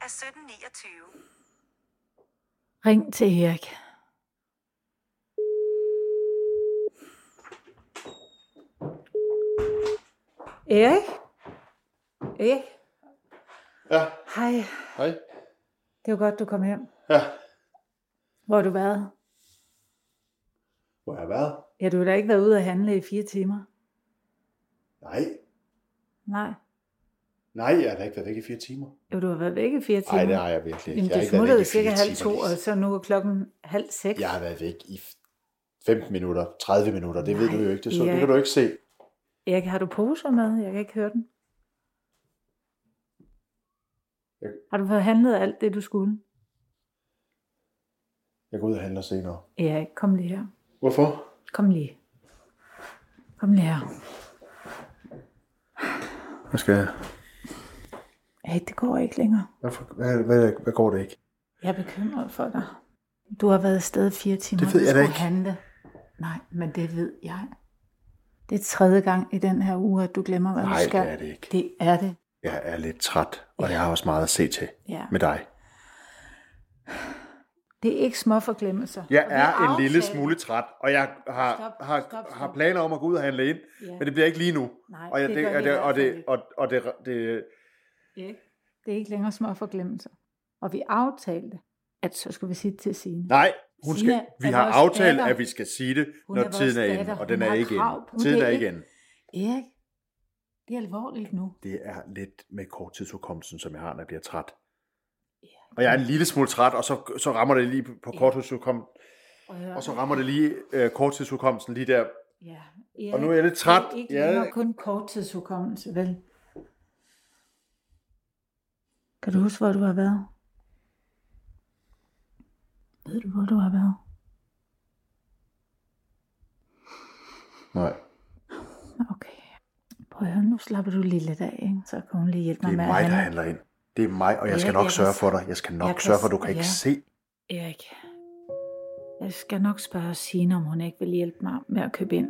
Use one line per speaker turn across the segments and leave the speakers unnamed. er 1729.
Ring til Erik.
Erik? Erik?
Ja,
Hej.
hej.
Det var godt, du kom hjem.
Ja,
Hvor har du været?
hvor har jeg været?
Ja, du har da ikke været ude at handle i fire timer.
Nej,
Nej.
nej, jeg har da ikke været væk i fire timer.
Jo, du har været væk i fire timer.
Nej, det har jeg virkelig ikke.
Jamen,
jeg har
du
ikke været væk
smuttede
i
cirka
fire
halv to,
timer, Lis.
og så nu er klokken halv seks.
Jeg har været væk i 15 minutter, 30 minutter, det ved
Nej,
du jo ikke. Det, så,
Erik.
det kan du ikke se.
Erik, har du poser med? Jeg kan ikke høre den.
Jeg-
Har du fået handlet alt det, du skulle?
Jeg går ud og handler senere.
Erik, kom lige her.
Hvorfor?
Kom lige. Kom lige her.
Hvad skal jeg?
Hey, det går ikke længere.
Hvorfor? Hvad, hvad, hvad går det ikke?
Jeg er bekymret for dig. Du har været afsted fire timer,
Det ved
du
jeg da
skulle
ikke.
handle. Nej, men det ved jeg. Det er tredje gang i den her uge, at du glemmer, hvad
Nej,
du
det
skal.
er det ikke.
Det er det.
Jeg er lidt træt, og jeg har også meget at se til
Ja.
med dig.
Det er ikke små forglemmelser.
Jeg
Og vi
er en
aftalte-
lille smule træt, og jeg har,
Stop,
har,
stop, stop.
har planer om at gå ud og handle ind,
Ja.
men det bliver ikke lige nu.
Nej,
og jeg,
det gør
og
vi i
det,
hvert
og
fald
det,
ikke.
og, og det, det,
Ikke? Det er ikke længere små forglemmelser. Og vi aftalte, at så skulle vi sige det til Signe.
Nej, hun
Sina
skal, vi
er
har
vores
aftalt,
datter.
at vi skal sige det,
Hun
når
er vores
tiden er inde,
datter.
og den
Hun
er
har
ikke
krav
inde.
på
Tiden
det,
er ikke
ikke?
inde.
Erik, det er alvorligt nu.
Det er lidt med korttidsudkommelsen, som jeg har, når jeg bliver træt. Og jeg er en lille smule træt, og så, så rammer det lige på korttidsudkommelsen, og så rammer det lige øh, korttidsudkommelsen lige der.
Ja, Erik,
Og nu er jeg lidt
det
træt.
Ikke
Ja.
længere kun korttidshukommelse, vel? Kan du huske, hvor du har været? Ved du, hvor du har været?
Nej,
Okay. Prøv at høre, nu slapper du lige lidt af, ikke? Så kan hun lige hjælpe
det
mig
er
med
mig,
at
der
handle.
handler ind. Det er mig, og jeg skal
Ja,
nok
jeg
sørge
kan-
for dig. Jeg skal
jeg
nok
kan
sørge for,
s-
du kan ikke
ja.
se.
Erik, jeg skal nok spørge Signe, om hun ikke vil hjælpe mig med at købe ind.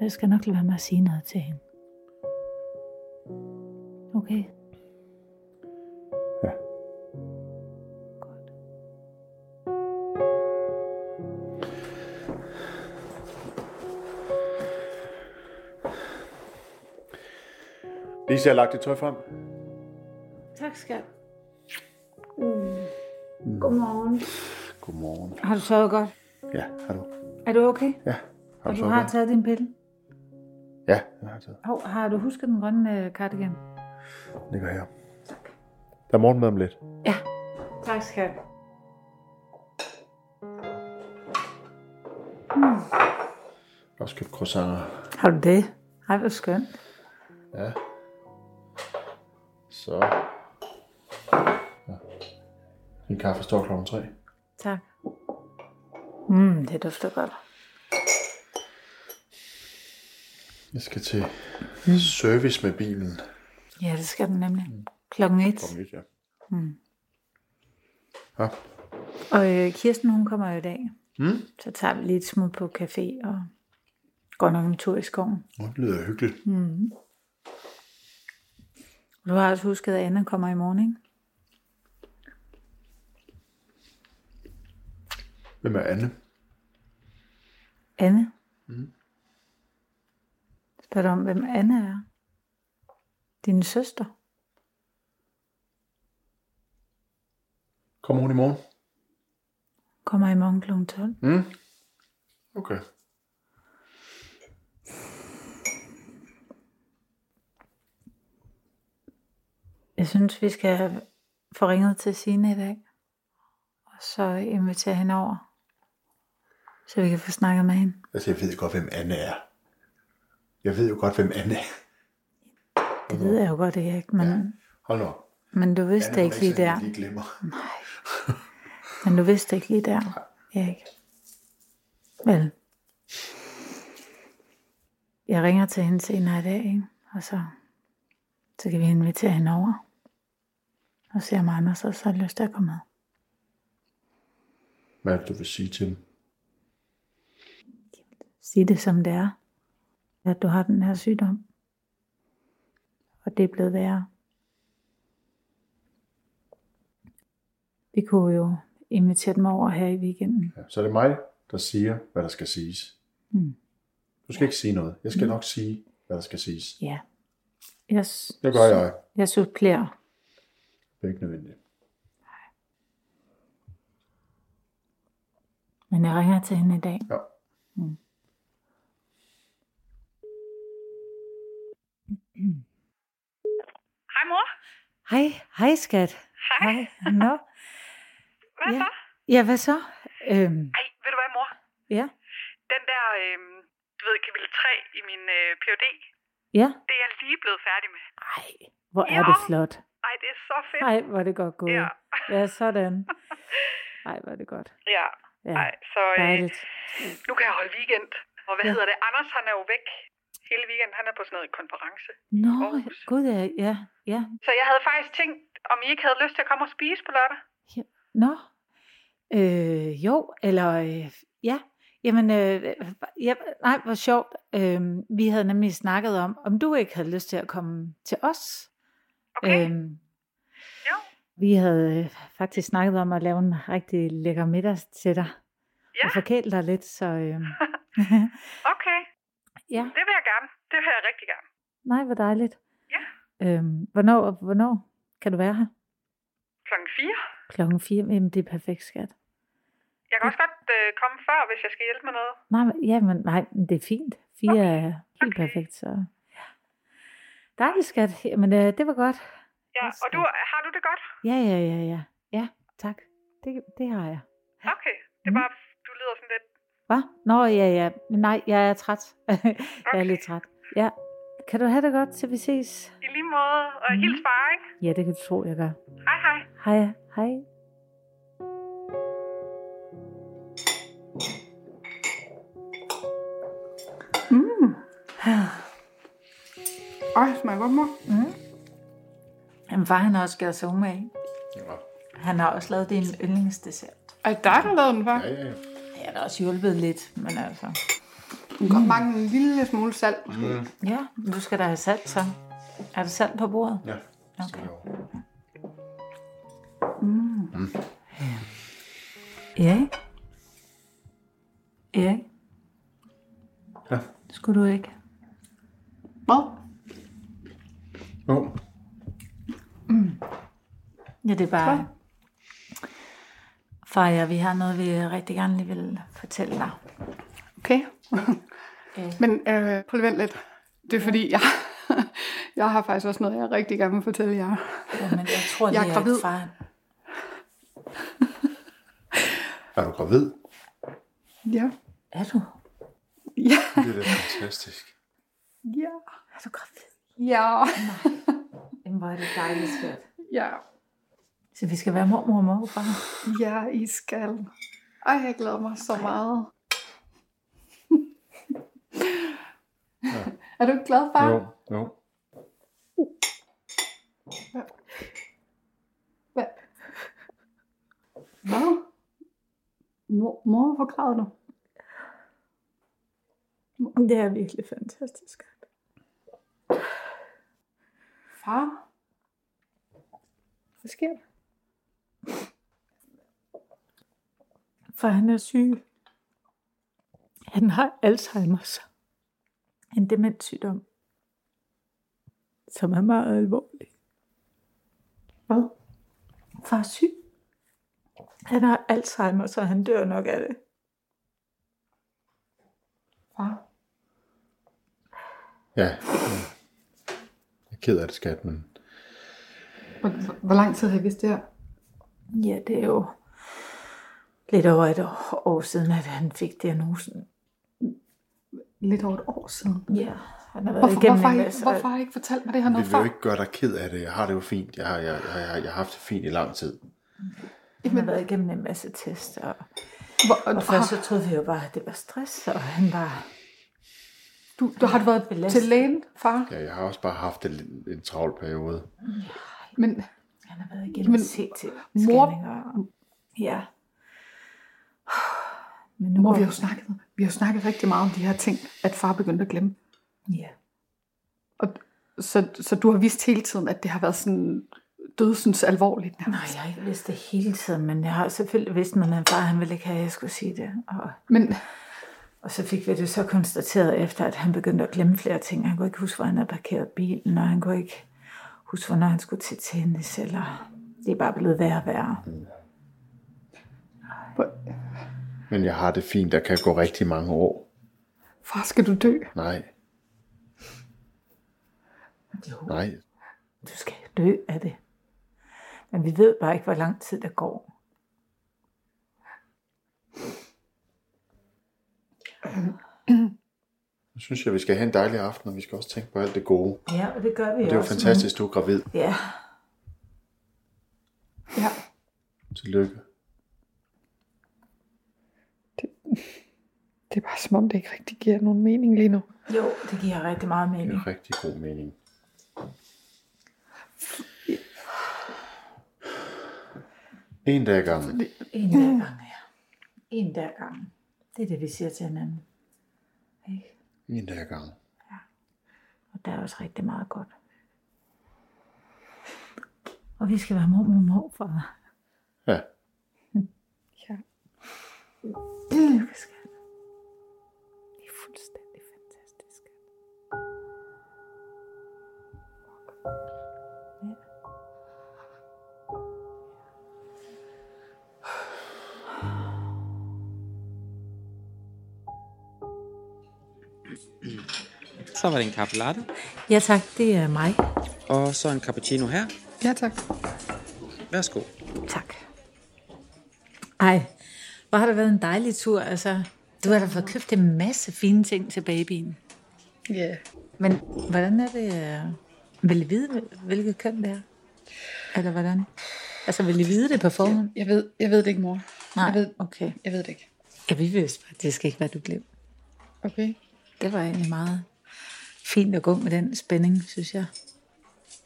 Jeg skal nok lade være med at sige noget til hende. Okay?
Ja.
Godt.
Lise, jeg har lagt dit tøj frem.
Tak, skat. Mm. Godmorgen.
Godmorgen.
Har du sovet godt?
Ja, har du?
Er du okay?
Ja, har
Og
du
du
sovet
har
godt?
taget din pille?
Ja, jeg har taget.
Hov, har du husket den grønne øh, cardigan?
Den ligger her. Der er morgenmad om lidt.
Ja. Tak, skat.
Også købt croissanter.
Har du det? Ej, hvor skønt.
Ja. Så. Ja. Min kaffe står klokken 3.
Tak. Mm, det dufter godt.
Jeg skal til service med bilen.
Ja, det skal den nemlig.
Mm.
Klokken et.
Kom lidt, ja.
Hmm.
Ja.
Og øh, Kirsten, hun kommer jo i dag. Mm. Så tager vi lige et smut på café og går nok en tur i skoven.
Nå, Det lyder hyggeligt.
Du har også husket, at Anna kommer i morgen, ikke?
Hvem er Anne?
Anne? Mm. Spørg dig om, hvem Anna er. Din søster.
Kommer hun i morgen?
Kommer i morgen kl. 12.
Mm. Okay.
Jeg synes, vi skal få ringet til Signe i dag. Og så invitere hende over. Så vi kan få snakket med hende.
Altså, jeg ved godt, hvem Anne er. Jeg ved jo godt, hvem Anne er.
Det ved jeg jo godt, Erik, men, Mm. ja.
Hold nu. op.
men du vidste
Anne,
det
hun
ikke lige
sådan
der.
en, jeg Lige glemmer.
Men du vidste det ikke lige der, Erik. Vel. Jeg ringer til hende senere i dag, ikke? og så, så kan vi invitere hende over. Og se om Anders også har lyst til at komme med.
Hvad er det, du vil sige til dem?
Sig det som det er. At du har den her sygdom. Og det er blevet værre. Vi kunne jo invitere dem over her i weekenden.
Ja, så er det mig, der siger, hvad der skal siges.
Mm.
Du skal ikke sige noget. Jeg skal nok sige, hvad der skal siges.
Ja. Jeg, s-
Det gør jeg.
Jeg supplerer.
Det er ikke nødvendigt.
Men jeg ringer til hende i dag.
Ja.
Hej mor.
Hej, hej skat.
Hej.
Nå.
Hvad
Ja.
så?
Ja, hvad så? Øhm,
Ej, ved du hvad mor?
ja.
Den der, øh, du ved, kapitel 3 i min øh, Ph.D.,
Ja.
det er jeg lige blevet færdig med.
Ej, hvor er det
Ja.
flot.
Ej, det er så fedt.
Ej, hvor er det godt gået.
Ja.
ja sådan. Ej, hvor er det godt.
Ja.
Ja,
Ej, så øh,
dejligt.
nu kan jeg holde weekend. Og hvad
Ja.
ja. hedder det? Anders, han er jo væk hele weekenden. Han er på sådan noget konference.
Nå,
Aarhus.
gud, ja, ja, ja.
Så jeg havde faktisk tænkt, om I ikke havde lyst til at komme og spise på lørdag.
Nå. Øh, jo, eller øh, ja. Jamen, øh, ja, nej, hvor sjovt. Øh, vi havde nemlig snakket om, om du ikke havde lyst til at komme til os.
Okay? Øh.
Øhm,
Jo.
Vi havde øh, faktisk snakket om at lave en rigtig lækker middag til dig.
Ja.
Og forkæle dig lidt, så... Øh,
Okay.
ja,
Det vil jeg gerne. Det vil jeg rigtig gerne.
nej, hvor dejligt.
Ja.
Øhm, hvornår, hvornår kan du være her?
Klokken 4.
Klokken 4. Jamen, det er perfekt, skat.
Jeg kan også godt øh, komme før, hvis jeg skal hjælpe med noget.
Nej, men- ja, men, nej, men det er fint. Fire okay. er helt
Okay.
perfekt, så... Ja. Dejligt, skat. Jamen, øh, det var godt.
Ja,
Også
og du, har du det godt?
Ja, ja, ja, ja. Ja, tak. Det, det har jeg.
Okay. Det
Mhm.
var, du lyder sådan lidt...
Hvad? Nå, ja, ja. Men Nej, jeg er træt. jeg er lidt træt. Ja. Kan du have det godt, til vi ses?
I lige måde, og
Mhm.
hils far, ikke?
Ja, det kan du tro, jeg gør.
Hej hej.
Hej, hej.
Ej, smager godt, mor.
Jamen, far han har også gjort sig umage.
Ja,
Han har også lavet din yndlingsdessert.
Er det dig, der lavede den, far?
ja, ja.
Jeg har da også hjulpet lidt, men altså...
Den kan godt mangle en lille smule salt. Mm.
Ja, men du skal da have salt, så. Er der salt på bordet?
ja. Okay.
Erik? Erik?
Ja.
Skulle du ikke?
Hvad?
Jo.
Ja, det er bare... Far og jeg, vi har noget, vi rigtig gerne lige vil fortælle dig.
Okay.
Øh.
Men øh, prøv lige vent lidt. Det er fordi, jeg, jeg har faktisk også noget, jeg rigtig gerne vil fortælle jer.
Jamen, jeg tror,
Jeg er
lige, at
gravid.
far...
Er du gravid?
Ja.
Er du?
Ja.
Det er da fantastisk.
Ja.
Er du gravid?
Ja.
Jamen, hvor er det dejligt svært.
Ja.
Så vi skal være mormor og morfar.
Ja, I skal. Ej, jeg glæder mig så meget. Er du ikke glad, far?
Jo, jo.
Hvad? Hvad? Mor, mor, hvor græder du?
Det er virkelig fantastisk.
Far? Hvad sker der?
For han er syg. Han har Alzheimer's. En demenssygdom. Som er meget alvorlig.
Hvad?
Far er syg. Han har Alzheimer, så han dør nok af det.
Far?
Ja. ja. Jeg er ked af det, skat, men...
Hvor, hvor- hvor lang tid har I vidst det her?
Ja, det er jo lidt over et år siden, at han fik diagnosen.
Lidt over et år siden.
Ja, han har været
Hvorfor,
igennem
hvorfor,
en
har I,
masse.
hvorfor har I ikke fortalt mig det her
Vi
noget
vil jo
før?
ikke gøre dig ked af det. Jeg har det jo fint. Jeg har, jeg, jeg, jeg, jeg har haft det fint i lang tid.
Han har været igennem en masse test. Og,
Hvor,
og først så troede vi jo bare, at det var stress, og han var...
du, du, har du været
Belastet.
til lægen, far?
Ja, jeg har også bare haft en, en travl periode.
Men
Han har været igennem
Men
CT-scanninger. Ja. Men nu
mor,
må
vi har jo snakket, vi har jo snakket rigtig meget om de her ting, at far begyndte at glemme.
Ja.
Og, så, så du har vidst hele tiden, at det har været sådan dødsens alvorligt nærmest.
Nej, jeg har ikke vidst det hele tiden, men jeg har selvfølgelig vidst, at han bare han ville ikke have, at jeg skulle sige det. Og,
Men
og så fik vi det så konstateret efter, at han begyndte at glemme flere ting. Han kunne ikke huske, hvor han havde parkeret bilen, og han kunne ikke huske, hvornår han skulle til tennis, eller det er bare blevet værre og værre.
Men jeg har det fint, der kan gå rigtig mange år.
far, skal du dø?
Nej,
Jo,
nej.
du skal dø af det. Men vi ved bare ikke, hvor lang tid der går.
Jeg synes, jeg, vi skal have en dejlig aften, og vi skal også tænke på alt det gode.
Ja, og det gør vi
Og det er jo
også.
fantastisk, du er gravid.
Ja,
Ja,
Tillykke.
det er bare som om, det ikke rigtig giver nogen mening lige nu.
jo, det giver rigtig meget
Det
mening.
er rigtig god mening. En dag ad gangen.
En dag gang, ja. En dag gang. Det er det, vi siger til hinanden. Ikke?
En dag ad gangen.
Og der er også rigtig meget godt. Og vi skal være mor, mor, mor for
Ja.
Ja.
det, vi skal. Det er fuldstændig fantastisk.
Så var det en kaffe latte,
Ja tak, det er mig.
og så en cappuccino her.
Ja, tak.
Værsgo.
Tak. Ej, hvor har det været en dejlig tur. Altså, du har da fået købt en masse fine ting til babyen.
Ja. Yeah.
Men hvordan er det? øh, Vil I vide, hvilket køn det er? Eller hvordan? Altså, vil I vide det på forhånd?
Jeg ved, jeg ved det ikke, mor. Jeg ved,
okay.
jeg ved det ikke.
Ja, vi vidste faktisk ikke, hvad du blev.
Okay.
Det var egentlig meget fint at gå med den spænding, synes jeg.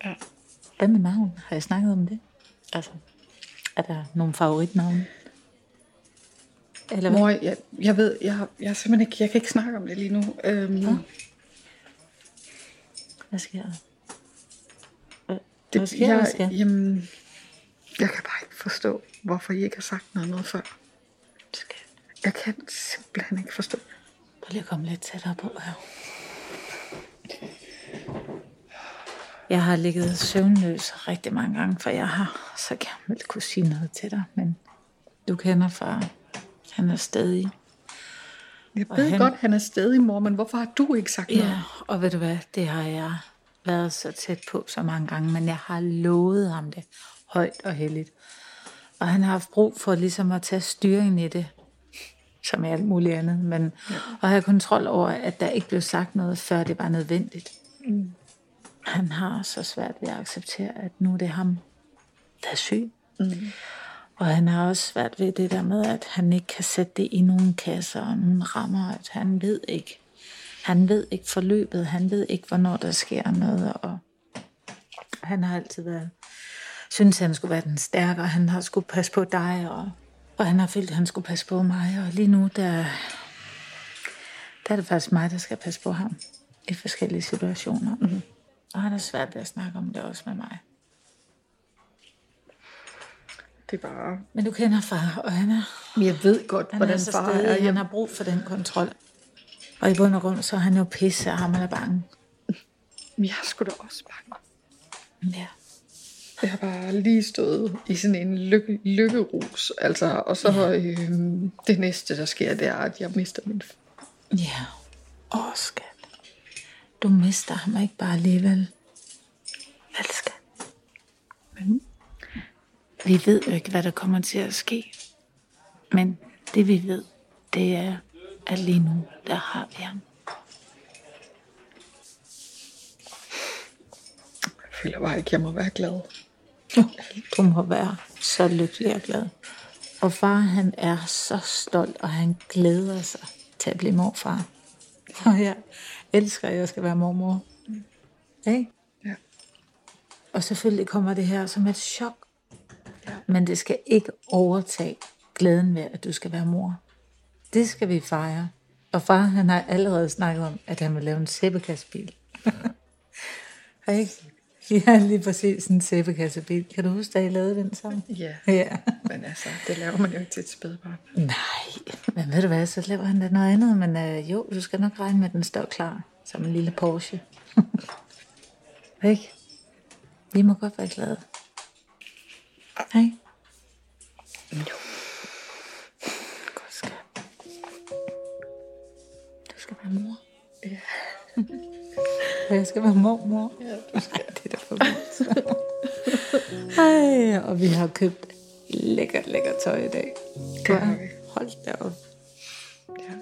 Ja.
Hvad med navn? Har jeg snakket om det? Altså, er der nogle favoritnavne? Eller hvad?
Mor, jeg, jeg ved, jeg, har- jeg, er simpelthen ikke, jeg kan ikke snakke om det lige nu. Øhm,
Hvad sker der?
det,
Hvad sker der,
jeg,
skal?
Jamen, jeg kan bare ikke forstå, hvorfor I ikke har sagt noget, noget før.
Skal-
Jeg kan simpelthen ikke forstå.
Prøv lige at komme lidt tættere på her. Jeg har ligget søvnløs rigtig mange gange, for jeg har så gerne vil kunne sige noget til dig, men du kender far. Han er stadig.
Jeg
Og
ved
han-
godt, han er stadig mor, men hvorfor har du ikke sagt noget?
Ja, og ved du hvad, det har jeg været så tæt på så mange gange, men jeg har lovet ham det højt og heldigt. Og han har haft brug for ligesom at tage styringen i det, som i alt muligt andet, men og have kontrol over, at der ikke blev sagt noget, før det var nødvendigt. Mm. Han har så svært ved at acceptere, at nu er det ham, der er syg. Og han har også svært ved det der med, at han ikke kan sætte det i nogle kasser og nogle rammer, at han ved ikke. Han ved ikke forløbet, han ved ikke, hvornår der sker noget, og han har altid været, synes han skulle være den stærkere, han har skulle passe på dig, og, og han har følt, at han skulle passe på mig, og lige nu, der, der er det faktisk mig, der skal passe på ham i forskellige situationer. Mm. Og han har svært ved at snakke om det også med mig.
Det er bare...
Men du kender far, og han er
Jeg ved godt,
Han
hvordan
er så
far
stadig,
er.
han
Jeg,
har brug for den kontrol. Og i bund og grund, så er han jo pisse, og ham er bange.
jeg er sgu da også bange.
Ja.
Jeg har bare lige stået i sådan en lykke, lykkerus, altså, og så ja. øhm, det næste, der sker, det er, at jeg mister min...
Ja. Åh, skat. Du mister ham ikke bare alligevel. Vel, skat? Men vi ved jo ikke, hvad der kommer til at ske. Men det vi ved, det er, at lige nu, der har vi ham.
Jeg føler bare ikke, jeg må være glad.
Du må være så lykkelig og glad. Og far, han er så stolt, og han glæder sig til at blive morfar. Og jeg elsker, at jeg skal være mormor. Ikke?
Ja.
Og selvfølgelig kommer det her som et chok. Men det skal ikke overtage glæden ved, at du skal være mor. Det skal vi fejre. Og far, han har allerede snakket om, at han vil lave en sæbekastbil. Ikke?
Ja, lige præcis. En sæbekassebil. Kan du huske, da I lavede den sammen?
Ja,
Ja.
men altså, det laver man jo ikke til et spædbarn.
Nej, men ved du hvad, så laver han da noget andet. Men øh, jo, du skal nok regne med, at den står klar. Som en lille Porsche. Ikke? Vi må godt være glade. Hej. Jo. Godt skal. Du skal være mor. Ja. jeg skal være mormor. Ja, du skal. Ej, det er da for vildt. Ej, og vi har købt lækkert, lækkert tøj i dag.
Det har vi.
Hold da op.
Ja.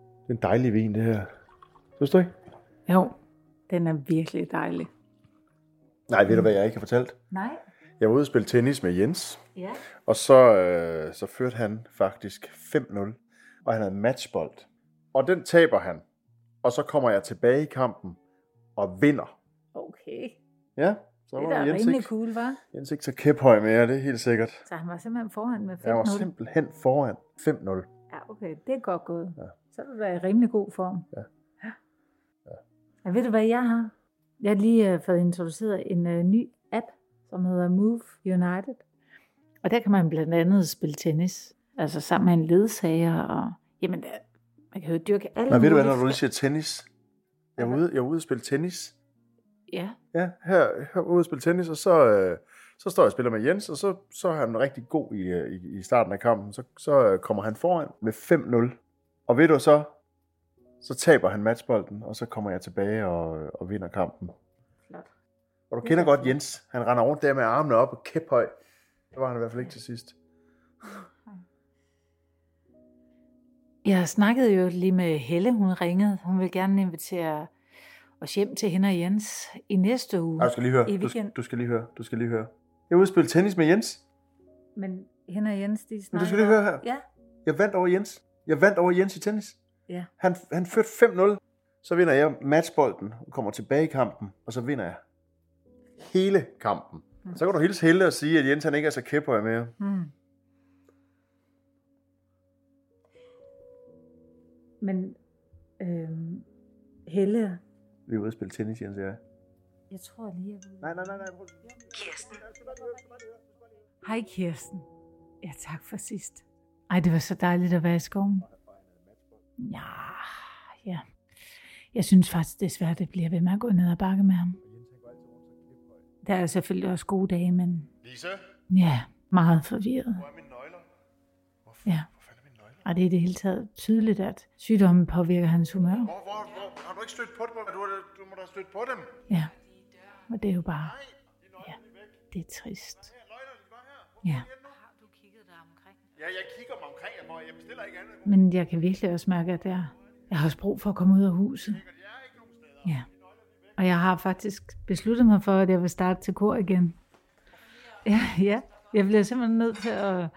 Det er en dejlig vin, det her. Synes du ikke?
Jo, den er virkelig dejlig.
Nej, ved du, hvad jeg ikke har fortalt?
Nej.
Jeg var ude og spille tennis med Jens,
Ja.
og så, øh, så førte han faktisk 5-0, og han havde matchbold. Og den taber han, og så kommer jeg tilbage i kampen og vinder.
Okay.
Ja, så
Det
var
der er
Jens
rimelig
ikke,
cool, var.
Jens ikke så kæphøj mere, det er helt sikkert.
Så han var simpelthen foran med 5-0.
Jeg var simpelthen foran 5-0.
Ja, okay. Det er godt gået.
Ja.
Ja. Så er du da i rimelig god form.
Ja.
Ja. ja. Ved du, hvad jeg har? Jeg har lige uh, fået introduceret en uh, ny app, som hedder Move United. Og der kan man blandt andet spille tennis. Altså sammen med en ledsager. Og, jamen, der, man kan jo dyrke alle
Men ved du hvad,
mulige
når du lige
fri-
siger tennis? Jeg var ude, jeg var ude og spille tennis.
Ja.
Ja, her, her var ude og spille tennis, og så, øh, så står jeg og spiller med Jens, og så, så er han rigtig god i, øh, i, i starten af kampen. Så, så øh, kommer han foran med 5-0. Og ved du så, så taber han matchbolden, og så kommer jeg tilbage og, øh, og vinder kampen.
Flot.
Og du kender godt Jens. Han render rundt der med armene op og kæphøj. Det var han i hvert fald ikke til sidst.
Jeg snakkede jo lige med Helle, hun ringede. Hun vil gerne invitere os hjem til hende og Jens i næste uge.
Ej, du skal lige høre.
I
Du, skal-
weekend.
du skal lige høre. Du skal lige høre. Jeg er ude og spille tennis med Jens.
Men hende og Jens, de
Men
snakker...
du skal lige høre her.
Ja.
Jeg vandt over Jens. Jeg vandt over Jens i tennis.
Ja.
Han, han førte 5-0. Så vinder jeg matchbolden, og kommer tilbage i kampen, og så vinder jeg hele kampen. Så kan du hilse Helle og sige, at Jens han ikke er så kæpper mere.
Mm.
Men øhm, Helle,
Vi er ude og spille tennis, Jens og jeg.
jeg tror lige, jeg
Nej, nej, nej. nej. prøv-
Hej Kirsten. Ja, tak for sidst. Ej, det var så dejligt at være i skoven. Ja, ja. Jeg synes faktisk desværre, det bliver ved med at gå ned og bakke med ham. Der er selvfølgelig også gode dage, men
Lise,
ja, meget forvirret.
hvor er mine nøgler? Hvor, f-
Ja.
hvor fanden er mine nøgler?
Og det er i det hele taget tydeligt, at sygdommen påvirker hans humør.
Hvor, hvor, hvor, har du ikke stødt på dem? Du, har- du må da have stødt på dem.
Ja, og det er jo bare... Ja, det er trist. Ja.
Ja, jeg kigger mig omkring, jeg, må, jeg bestiller ikke andet.
Men jeg kan virkelig også mærke, at jeg, jeg har også brug for at komme ud af huset. Ja. Og jeg har faktisk besluttet mig for, at jeg vil starte til kor igen. Ja, ja. Jeg bliver simpelthen nødt til at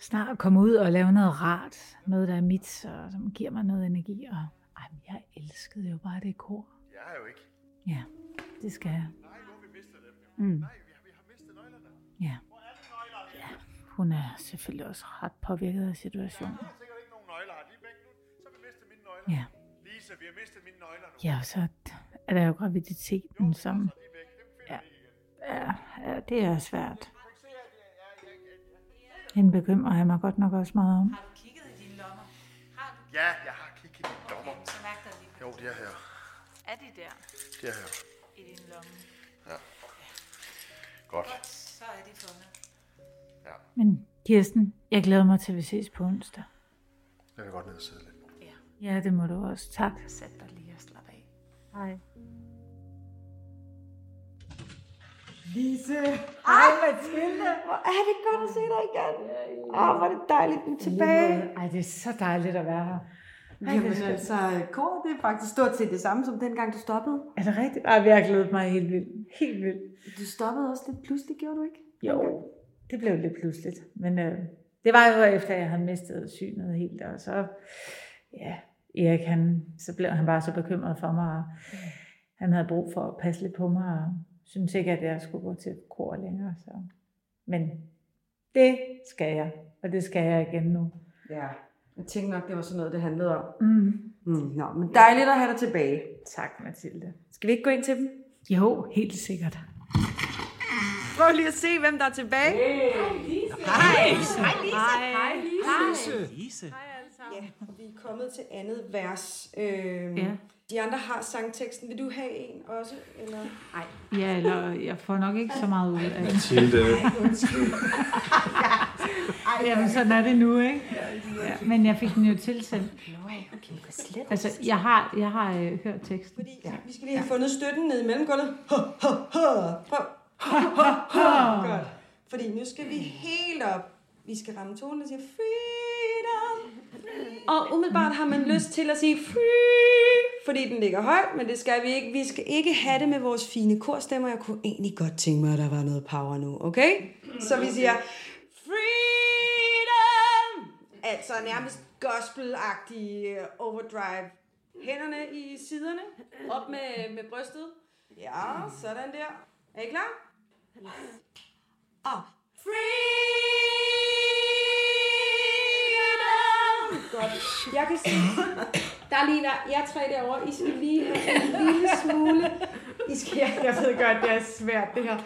snart komme ud og lave noget rart. Noget, der er mit, og som giver mig noget energi. Og ej, men jeg elskede jo bare det kor.
Jeg har jo ikke.
Ja, det skal jeg.
Nej, nu har vi mistet dem. jo.
Mm.
Nej, vi har, vi har mistet nøglerne.
Ja.
Hvor er de nøgler? Jeg
Hun er selvfølgelig også ret påvirket af situationen.
har sikkert ikke nogen nøgler. Har de væk nu? Så har vi mistet mine nøgler.
Ja.
Lise, vi har mistet mine nøgler nu.
Ja, og så er der jo graviditeten, som...
De er væk. Dem finder
Ja.
vi ikke igen.
Ja, ja, det er svært.
Kan du ikke se, at jeg- jeg- jeg- jeg-
Hende bekymrer jeg mig godt nok også meget om.
Ja, jeg har kigget i mine lommer. Jo, det er her.
Er de der
Det er her.
i din lomme?
Godt.
Så er de fundet.
Ja,
Men Kirsten, jeg glæder mig til, at vi ses på onsdag.
jeg vil godt ned og sidde lidt.
Ja, det må du også. Tak.
Sæt dig lige og slap af.
Hej.
tilbage.
Ej, det er så dejligt at være her.
Jamen altså, kor, det er faktisk stort set det samme som dengang, du stoppede.
Er det rigtigt? Ej, jeg har glædet mig helt vildt. Helt vildt.
Du stoppede også lidt pludselig, gjorde du ikke?
Jo, det blev lidt pludseligt. Men øh, det var jo efter, jeg havde mistet synet helt. Og så, ja, Erik, han, så blev han bare så bekymret for mig. Og han havde brug for at passe lidt på mig. Og syntes ikke, at jeg skulle gå til kor længere. Så. Men det skal jeg. Og det skal jeg igen nu.
Ja. Jeg tænkte nok, det var sådan noget, det handlede om.
Mm.
Mm, nå, men dejligt at have dig tilbage.
Tak, Mathilde.
Skal vi ikke gå ind til dem?
Jo, helt sikkert.
Prøv lige at se, hvem der er tilbage. Hey. Hej, Lise. Hej, Lise. Hej, Lise. Hej, Lise. Ja, vi er kommet til andet vers. Øhm,
Ja.
De andre har sangteksten. Vil du have en også? Eller? Nej.
Ja, eller jeg får nok ikke så meget ud af det.
Mathilde.
Jamen, sådan er det nu, ikke? Ja, men jeg fik den jo tilsendt. Altså, jeg har, jeg har øh, hørt teksten.
Fordi ja. vi skal lige have fundet støtten nede i mellemgulvet. Ho, ho, ho. Prøv. Ho, ho, ho. Godt. Fordi nu skal vi helt op. Vi skal ramme tonen og sige freedom. Og umiddelbart har man lyst til at sige free, fordi den ligger højt, men det skal vi ikke. Vi skal ikke have det med vores fine korstemmer. Jeg kunne egentlig godt tænke mig, at der var noget power nu, okay? Så vi siger freedom. Altså nærmest gospelagtig øh, overdrive. Hænderne i siderne, op med, med brystet. Ja, sådan der. Er I klar? Og freedom. Godt. Jeg kan se, der ligner jer tre derovre. I skal lige have en lille smule. I skal, jeg, jeg ved godt, det er svært det her.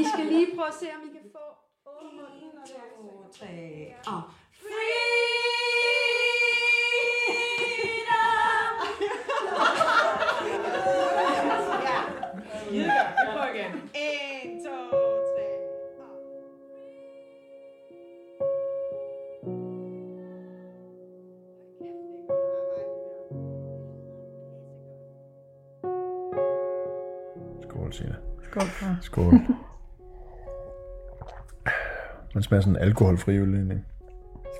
I skal lige prøve at se, om I kan få åbne munden. og det Ah. er- En, to, tre, og freedom. En, to, tre.
Skål, Sina.
Skål for.
Skål. Man smager sådan en alkoholfri øl, egentlig.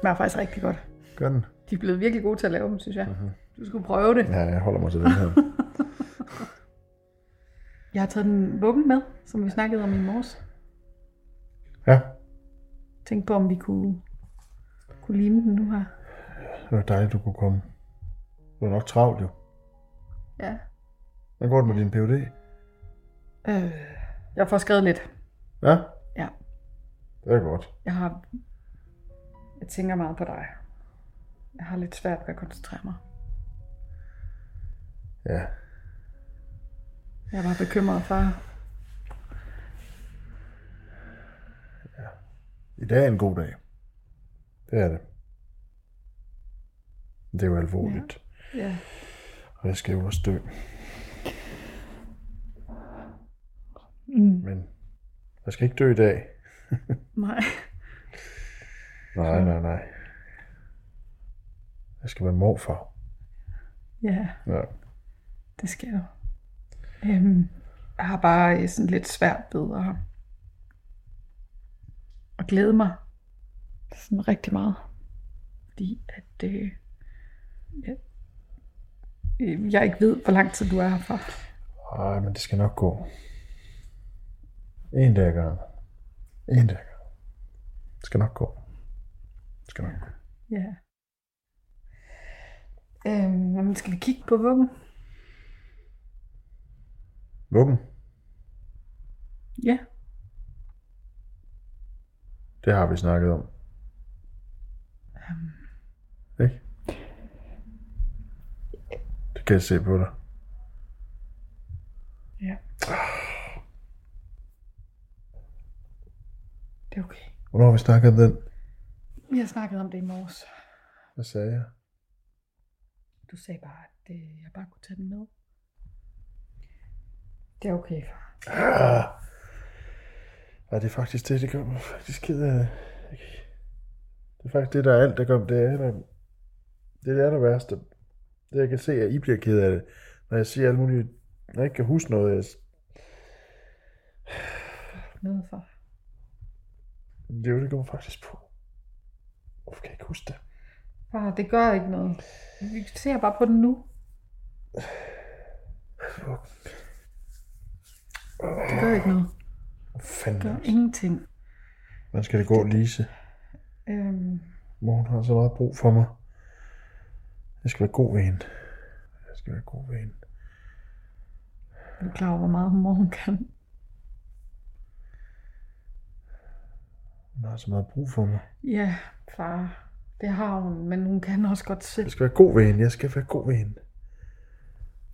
smager faktisk rigtig godt.
Gør den?
De er blevet virkelig gode til at lave dem, synes jeg. Du skulle prøve det.
Ja, jeg holder mig til den her.
Jeg har taget den vuggen med, som vi snakkede om i morges.
Ja,
Tænk på, om vi kunne, kunne lime den nu her.
det var dejligt, du kunne komme. Du er nok travlt, jo.
Ja.
Hvordan går det med din PhD?
Øh, jeg får skrevet lidt.
Ja?
Ja.
Det er godt.
Jeg har... Jeg tænker meget på dig. Jeg har lidt svært ved at koncentrere mig.
Ja.
Jeg var bekymret for...
I dag er en god dag. Det er det. Det er jo alvorligt. Ja.
Ja.
Og jeg skal jo også dø.
Mm,
Men jeg skal ikke dø i dag.
nej.
Nej, nej, nej. Jeg skal være morfar.
Ja,
Ja.
det skal jo. Øhm, jeg har bare øh, sådan lidt svært ved at, at glæde mig sådan rigtig meget. Fordi at øh, jeg, øh, jeg ikke ved, hvor lang tid du er herfra.
Ej, men det skal nok gå. En dag ad gangen. En dag ad gangen. Det skal nok gå. Det skal nok gå.
Ja. Øhm, jamen, skal vi kigge på vuggen?
Vuggen,
Ja.
det har vi snakket om.
Øhm.
Ikke? Det kan jeg se på dig.
Ja. Det er okay.
Hvornår har vi snakket om den?
Vi har snakket om det i morges.
Hvad sagde jeg?
Du sagde bare, at øh, jeg bare kunne tage den med. Det er okay, far.
Ah! Ja, det er faktisk det, det gør mig faktisk ked af. det. Det er faktisk det, der er alt, der gør mig. Det er der, det, er det værste. Det, jeg kan se, at I bliver ked af det. Når jeg siger alt muligt, når jeg ikke kan huske noget. Jeg,
Med, far.
det er jo, det går mig faktisk på. Hvorfor kan jeg ikke huske det?
Far, Ah, det gør ikke noget. Vi ser bare på den nu. Det gør ikke noget.
Hvor
Det
fanden
gør
også?
ingenting.
Hvordan skal det gå, Lise?
Øhm,
Mor, hun har så meget brug for mig. Jeg skal være god ved hende. Jeg skal være god ved hende.
er du klar over, hvor meget mor hun kan?
Hun har så meget brug for mig.
Ja, far.
Det har hun, men hun kan også godt selv.
Jeg skal være god ved hende. Jeg skal være god ved hende.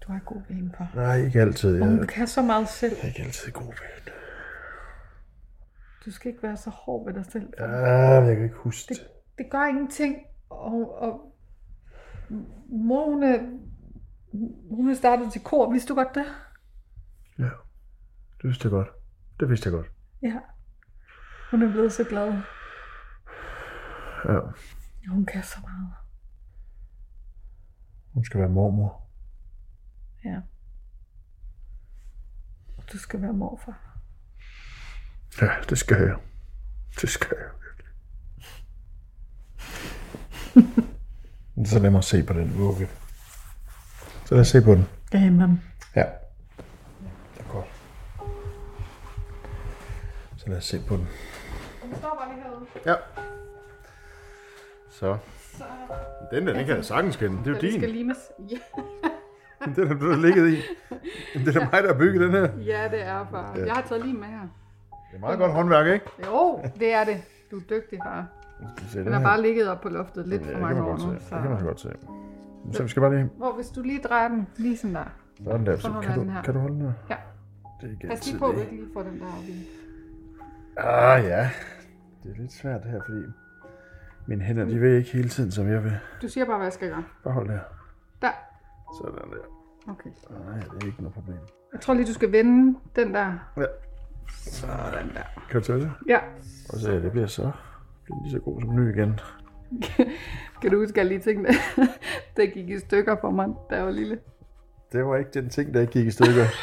Du er god ved hende på.
Nej, ikke altid.
Og
Jeg
hun kan så meget selv.
er ikke altid god ved hende.
Du skal ikke være så hård ved dig selv. for
Ja, men jeg kan ikke huske det.
Det gør ingenting. Og, og mor, hun er, hun er startet til kor. Vidste du godt det?
Ja. Det vidste jeg godt. Det vidste jeg godt.
Ja. Hun er blevet så glad.
Ja.
Hun kan så meget.
Hun skal være mormor.
Ja. Du skal være morfar.
Ja, det skal jeg. Det skal jeg. virkelig. Så lad mig se på den vugge. Så lad os se på den.
Det er man.
Ja. Det er godt. Så lad os se på den. Ja. Så. Den der, den kan jeg sagtens kende. Det er jo
Den
din.
skal limes. Ja,
Den er du har ligget i. Det er da mig, der har bygget den her.
ja, det er far. Jeg har taget lim med her.
Det er meget godt håndværk, ikke?
Jo, det er det. Du er dygtig, far. Den har bare ligget op på loftet lidt for
Ja, det kan
mange år
man godt se.
nu.
Det kan man
Så.
godt se. Så vi skal bare lige...
Hvor hvis du lige drejer den, lige sådan der.
Sådan der. Så
holder
kan,
jeg
du,
den her.
kan du holde den her?
Ja.
Det er ikke
Pas lige
altid
på, at du
det.
ikke lige får den der op i.
Ah ja. Det er lidt svært her, fordi mine hænder, de vil ikke hele tiden, som jeg vil.
Du siger bare, hvad jeg skal gøre.
Bare hold der.
Der.
Sådan der.
Okay.
Nej, det er ikke noget problem.
Jeg tror lige, du skal vende den der.
Ja.
Sådan der.
Kan du tage det?
Ja.
Og så ja, det bliver så bliver den lige så god som ny igen.
Kan du huske, at jeg lige tænkte, det gik i stykker for mig, da jeg var lille.
Det var ikke den ting, der ikke gik i stykker.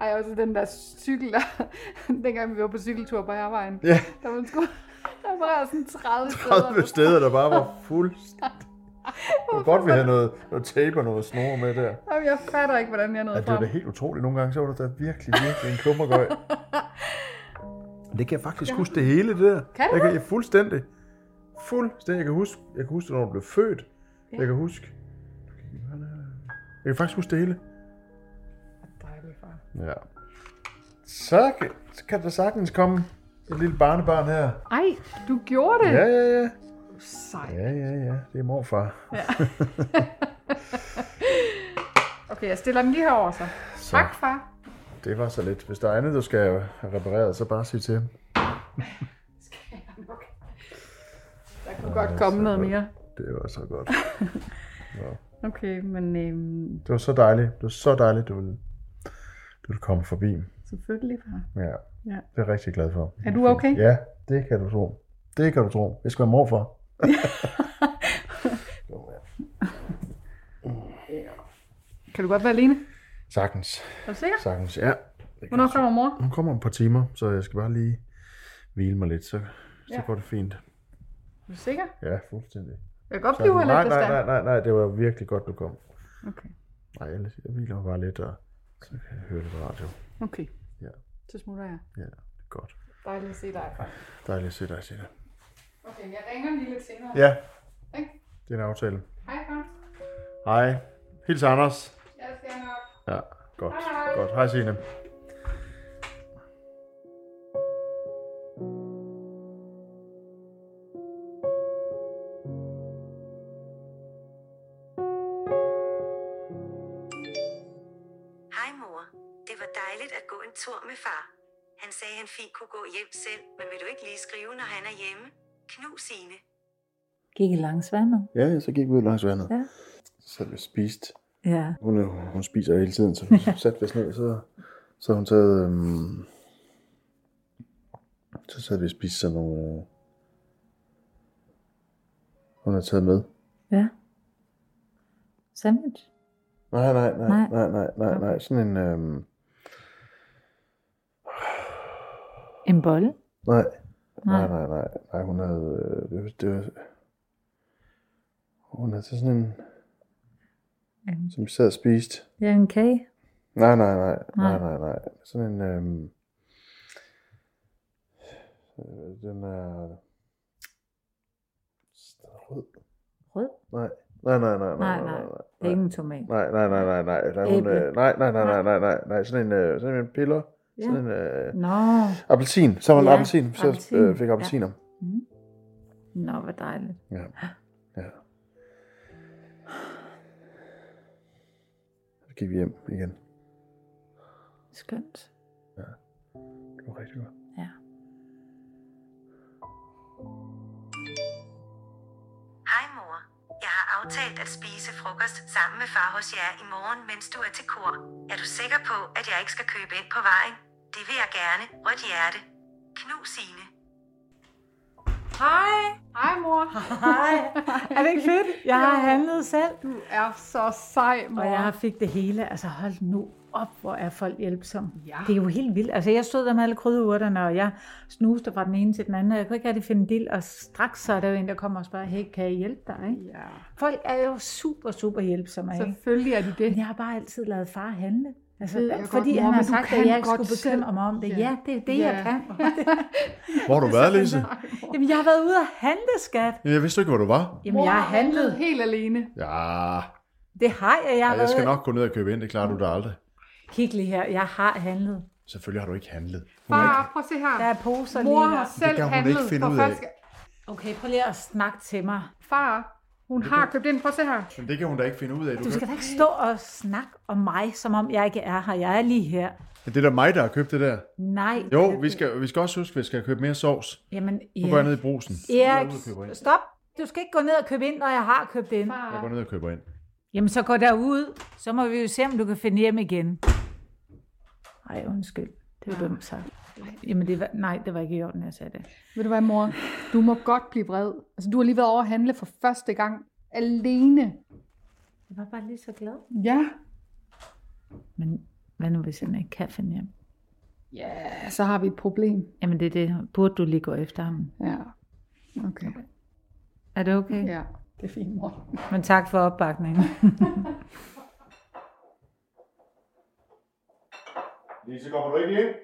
Ej, også den der cykel, der, dengang vi var på cykeltur på hervejen.
ja,
Der var, en sko, der var sådan 30 steder.
30 steder, der bare var fuldstændig. Det var godt, vi havde noget, noget tape og noget snor med der.
Jamen, jeg fatter ikke, hvordan jeg nåede
Ja,
ja,
det var
frem.
da helt utroligt. Nogle gange så var der da virkelig, virkelig en klummergøj. Det kan jeg faktisk huske det hele, det der.
Kan du
jeg kan, jeg, fuldstændig. Fuldstændig. Jeg kan huske, jeg kan huske, når du blev født. Ja. Jeg kan huske. Jeg kan faktisk huske det hele. Ja. Så kan, så kan der sagtens komme et lille barnebarn her.
Ej, du gjorde det.
Ja, ja, ja.
Sej.
Ja, ja, ja. Det er morfar.
Okay, jeg stiller den lige herover så.
Så
Tak, far.
det var så lidt. Hvis der er andet, du skal have repareret, så bare sig til ham.
Der kunne godt komme noget mere.
Det var så godt.
Okay, men øhm,
Det var så dejligt. Det var så dejligt, du ville, du ville komme forbi.
selvfølgelig, far.
Ja.
Ja.
Det er jeg rigtig glad for.
Er du okay?
Ja, det kan du tro. Det kan du tro. Jeg skal være morfar.
Kan du godt være alene?
Sagtens.
Er du sikker?
Sagtens, ja. Det kan
Hvornår
jeg tro.
kommer mor?
Hun kommer om et par timer, så jeg skal bare lige hvile mig lidt, så, så
Ja.
går det fint.
Er du sikker?
Ja, fuldstændig.
Jeg kan godt
Så,
blive lidt,
nej,
hvis
nej,
der
nej, nej, nej, det var virkelig godt, du kom.
Okay,
Nej, jeg, jeg hviler mig bare lidt, og så kan jeg høre lidt radio.
okay.
Ja.
Så smutter jeg.
Ja, det er godt.
Dejligt at se dig.
Dejligt at se dig, Sina.
Okay, jeg ringer lige lidt senere.
Ja,
Ikke?
det er en aftale.
Hej, far.
Hej. Hils Anders.
Jeg skal nok.
Ja, godt. Hej. Godt. Hej Signe.
Hej mor. Det var dejligt at gå en tur med far. Han sagde, han fint kunne gå hjem selv, men vil du ikke lige skrive, når han er hjemme? Knus Signe.
Gik I langs vandet?
Ja, så gik vi ud langs vandet.
Ja.
Så satte vi og spiste.
Ja.
Hun, er jo- hun spiser jo hele tiden, så vi satte vi os ned, så, så hun taget... Øhm, så sad vi og spiste sådan nogle... Øh, hun har taget med.
Ja. Sandwich?
Nej, nej, nej,
Nej.
nej, nej, nej, nej. Sådan en... Øhm,
En bolle?
nej, nej, nej, nej, nej, hun havde... Øh, det, var- det var, hun havde taget sådan en...
En-
Som vi sad og spiste.
Ja, en kage.
Nej, nej, nej, nej,
Nej.
nej, nej. Sådan en, øhm, øh, den er rød.
Rød?
Nej, nej, nej, nej, nej,
Nej,
nej,
nej.
nej,
Ingen tomat.
nej, nej, nej, nej, nej, nej, nej, nej,
Æble.
nej, nej, nej, nej, nej, nej, sådan en, øh, sådan en piller, Ja. Sådan en øh,
Mm.
Nå.
appelsin. Så var en
Ja,
ja, appelsin. Så
appelsin.
øh, fik jeg
Ja.
appelsiner.
Mm. Nå, hvor dejligt.
Ja. ja. Så gik vi hjem igen.
Skønt.
Det var rigtig godt.
Hej mor. Jeg har aftalt at spise frokost sammen med far hos jer i morgen, mens du er til kor. Er du sikker på, at jeg ikke skal købe ind på vejen? Det vil jeg gerne. Rødt hjerte. Knus Signe.
Hej.
Hej, mor.
Hej. Er det ikke fedt? Jeg har
Jo.
handlet selv.
Du er så sej, mor.
Og jeg har fik det hele. Altså hold nu op, hvor er folk hjælpsomme.
Ja.
Det er jo helt vildt. Altså jeg stod der med alle krydderurterne, og jeg snuste fra den ene til den anden, og jeg kunne ikke rigtig finde dild, og straks så er der jo en, der kommer og spørger, hey, kan jeg hjælpe dig? Ikke?
Ja.
Folk er jo super, super hjælpsomme. Ikke?
Selvfølgelig er de det.
Men jeg har bare altid lavet far handle. Altså,
Ved jeg
fordi
godt, mor,
han har
men du
sagt,
kan
at jeg ikke
godt
skulle bekymre
selv.
mig om det.
Ja.
Ja, ja det er det,
Ja.
jeg kan.
Hvor har du været, Lise?
Jamen, jeg har været ude og handle, skat.
Jamen, jeg vidste ikke, hvor du var.
Jamen, jeg har handlet.
helt alene.
Ja,
Det har jeg. Jeg, har
Ej, jeg skal
været...
nok gå ned og købe ind. Det klarer du da aldrig.
Kig lige her. Jeg har handlet.
Selvfølgelig har du ikke handlet. Hun er ikke...
Far, prøv at se her.
Der er poser
Mor
lige
har
her.
selv
kan hun
handlet
ikke finde
for
ud af.
første gang.
Okay, prøv lige at snakke til mig.
Far, hun har købt ind. Prøv at se her.
Men det kan hun da ikke finde ud af. Du
Du skal
kan...
da ikke stå og snakke om mig, som om jeg ikke er her. Jeg er lige her.
Men det er da mig, der har købt det der.
Nej.
Jo, vi skal, vi skal også huske, at vi skal købe mere sovs.
Jamen,
Nu går jeg ned i brusen. Jeg går
Erik,
ned og køber ind.
stop. Du skal ikke gå ned og købe ind, når jeg har købt ind.
Jeg går ned og køber ind.
Jamen, så gå derud. Så må vi jo se, om du kan finde hjem igen. Nej, undskyld. Det var dumt sagt. Jamen, det var, nej, det var ikke i orden, jeg sagde det.
Ved du hvad, mor? Du må godt blive vred. Altså, du har lige været over at handle for første gang. Alene.
Jeg var bare lige så glad.
Ja.
Men hvad nu, hvis han ikke kan finde hjem?
Ja, så har vi et problem.
Jamen, det er det. Burde du lige gå efter ham?
Ja. Okay.
Er det okay?
Ja, det er fint, mor.
Men tak for opbakningen.
Lise, kommer du ikke ind?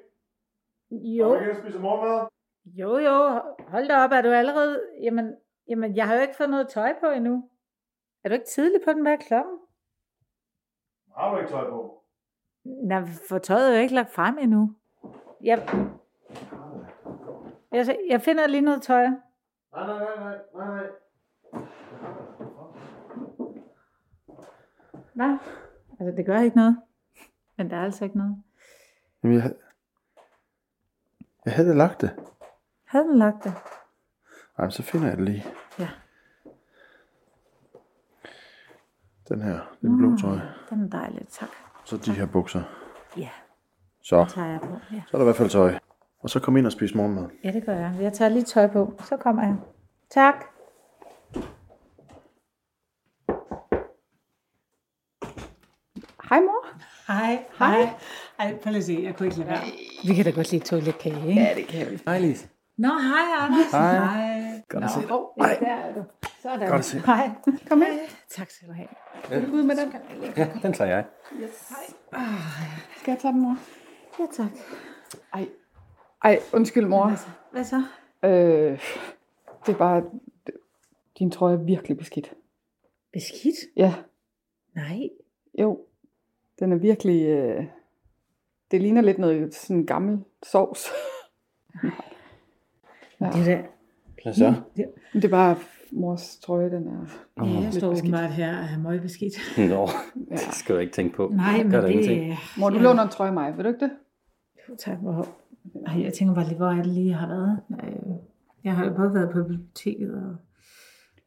jo,
ind og spiser morgenmad?
jo, jo. Hold da op, er du allerede... Jamen, jamen, jeg har jo ikke fået noget tøj på endnu. Er du ikke tidlig på den her klokken?
Har du ikke tøj på?
Nej, for tøjet er jo ikke lagt frem endnu. Jeg, jeg, jeg finder lige noget tøj.
Nej, nej, nej, nej, nej, nej.
Hvad? Altså, det gør ikke noget. Men der er altså ikke noget.
Jamen, jeg, havde- jeg havde da lagt det.
Havde den lagt det?
Ej, men så finder jeg det lige.
Ja.
Den her, den blå trøje.
Den er dejlig, tak.
Så de her bukser.
Ja,
Så,
den tager jeg på. Ja.
så er der i hvert fald tøj. Og så kom ind og spis morgenmad.
ja, det gør jeg. Jeg tager lige tøj på, så kommer jeg. Tak.
Hej, mor.
Hej. Hej. Ej, prøv lige at se, jeg kunne ikke lade være. Vi kan da godt lige tåle lidt kage, ikke?
Ja, det kan vi.
Hej, Lise.
Nå, hej Anders.
Hej.
Hej.
Godt at se dig.
Åh,
Ja, der er du. Sådan.
Godt at se dig.
Hej.
kom ind.
Tak skal du have.
Vil du ud med den?
Ja, den tager jeg.
Skal jeg tage den, mor?
Ja, tak.
Ej, undskyld, mor.
Hvad så?
Øh, det er bare... Din trøje er virkelig beskidt.
Beskidt?
Ja,
Nej.
jo. Den er virkelig... Øh, det ligner lidt noget sådan gammel sovs. Ja.
Det er da...
Hvad så?
Men Det er bare mors trøje, den er...
Ja, jeg
Lidt
står
beskidt.
åbenbart her og er møgbeskidt.
Nå,
Ja.
det skal du ikke tænke på.
Nej, men
Gør der
det...
ingenting.
Mor, du låner en trøje af mig, vil du ikke det?
Jo, tak. Hvor...
Ej, jeg tænker bare lige, hvor er det lige, jeg har været? Øh, Jeg har jo både været på biblioteket og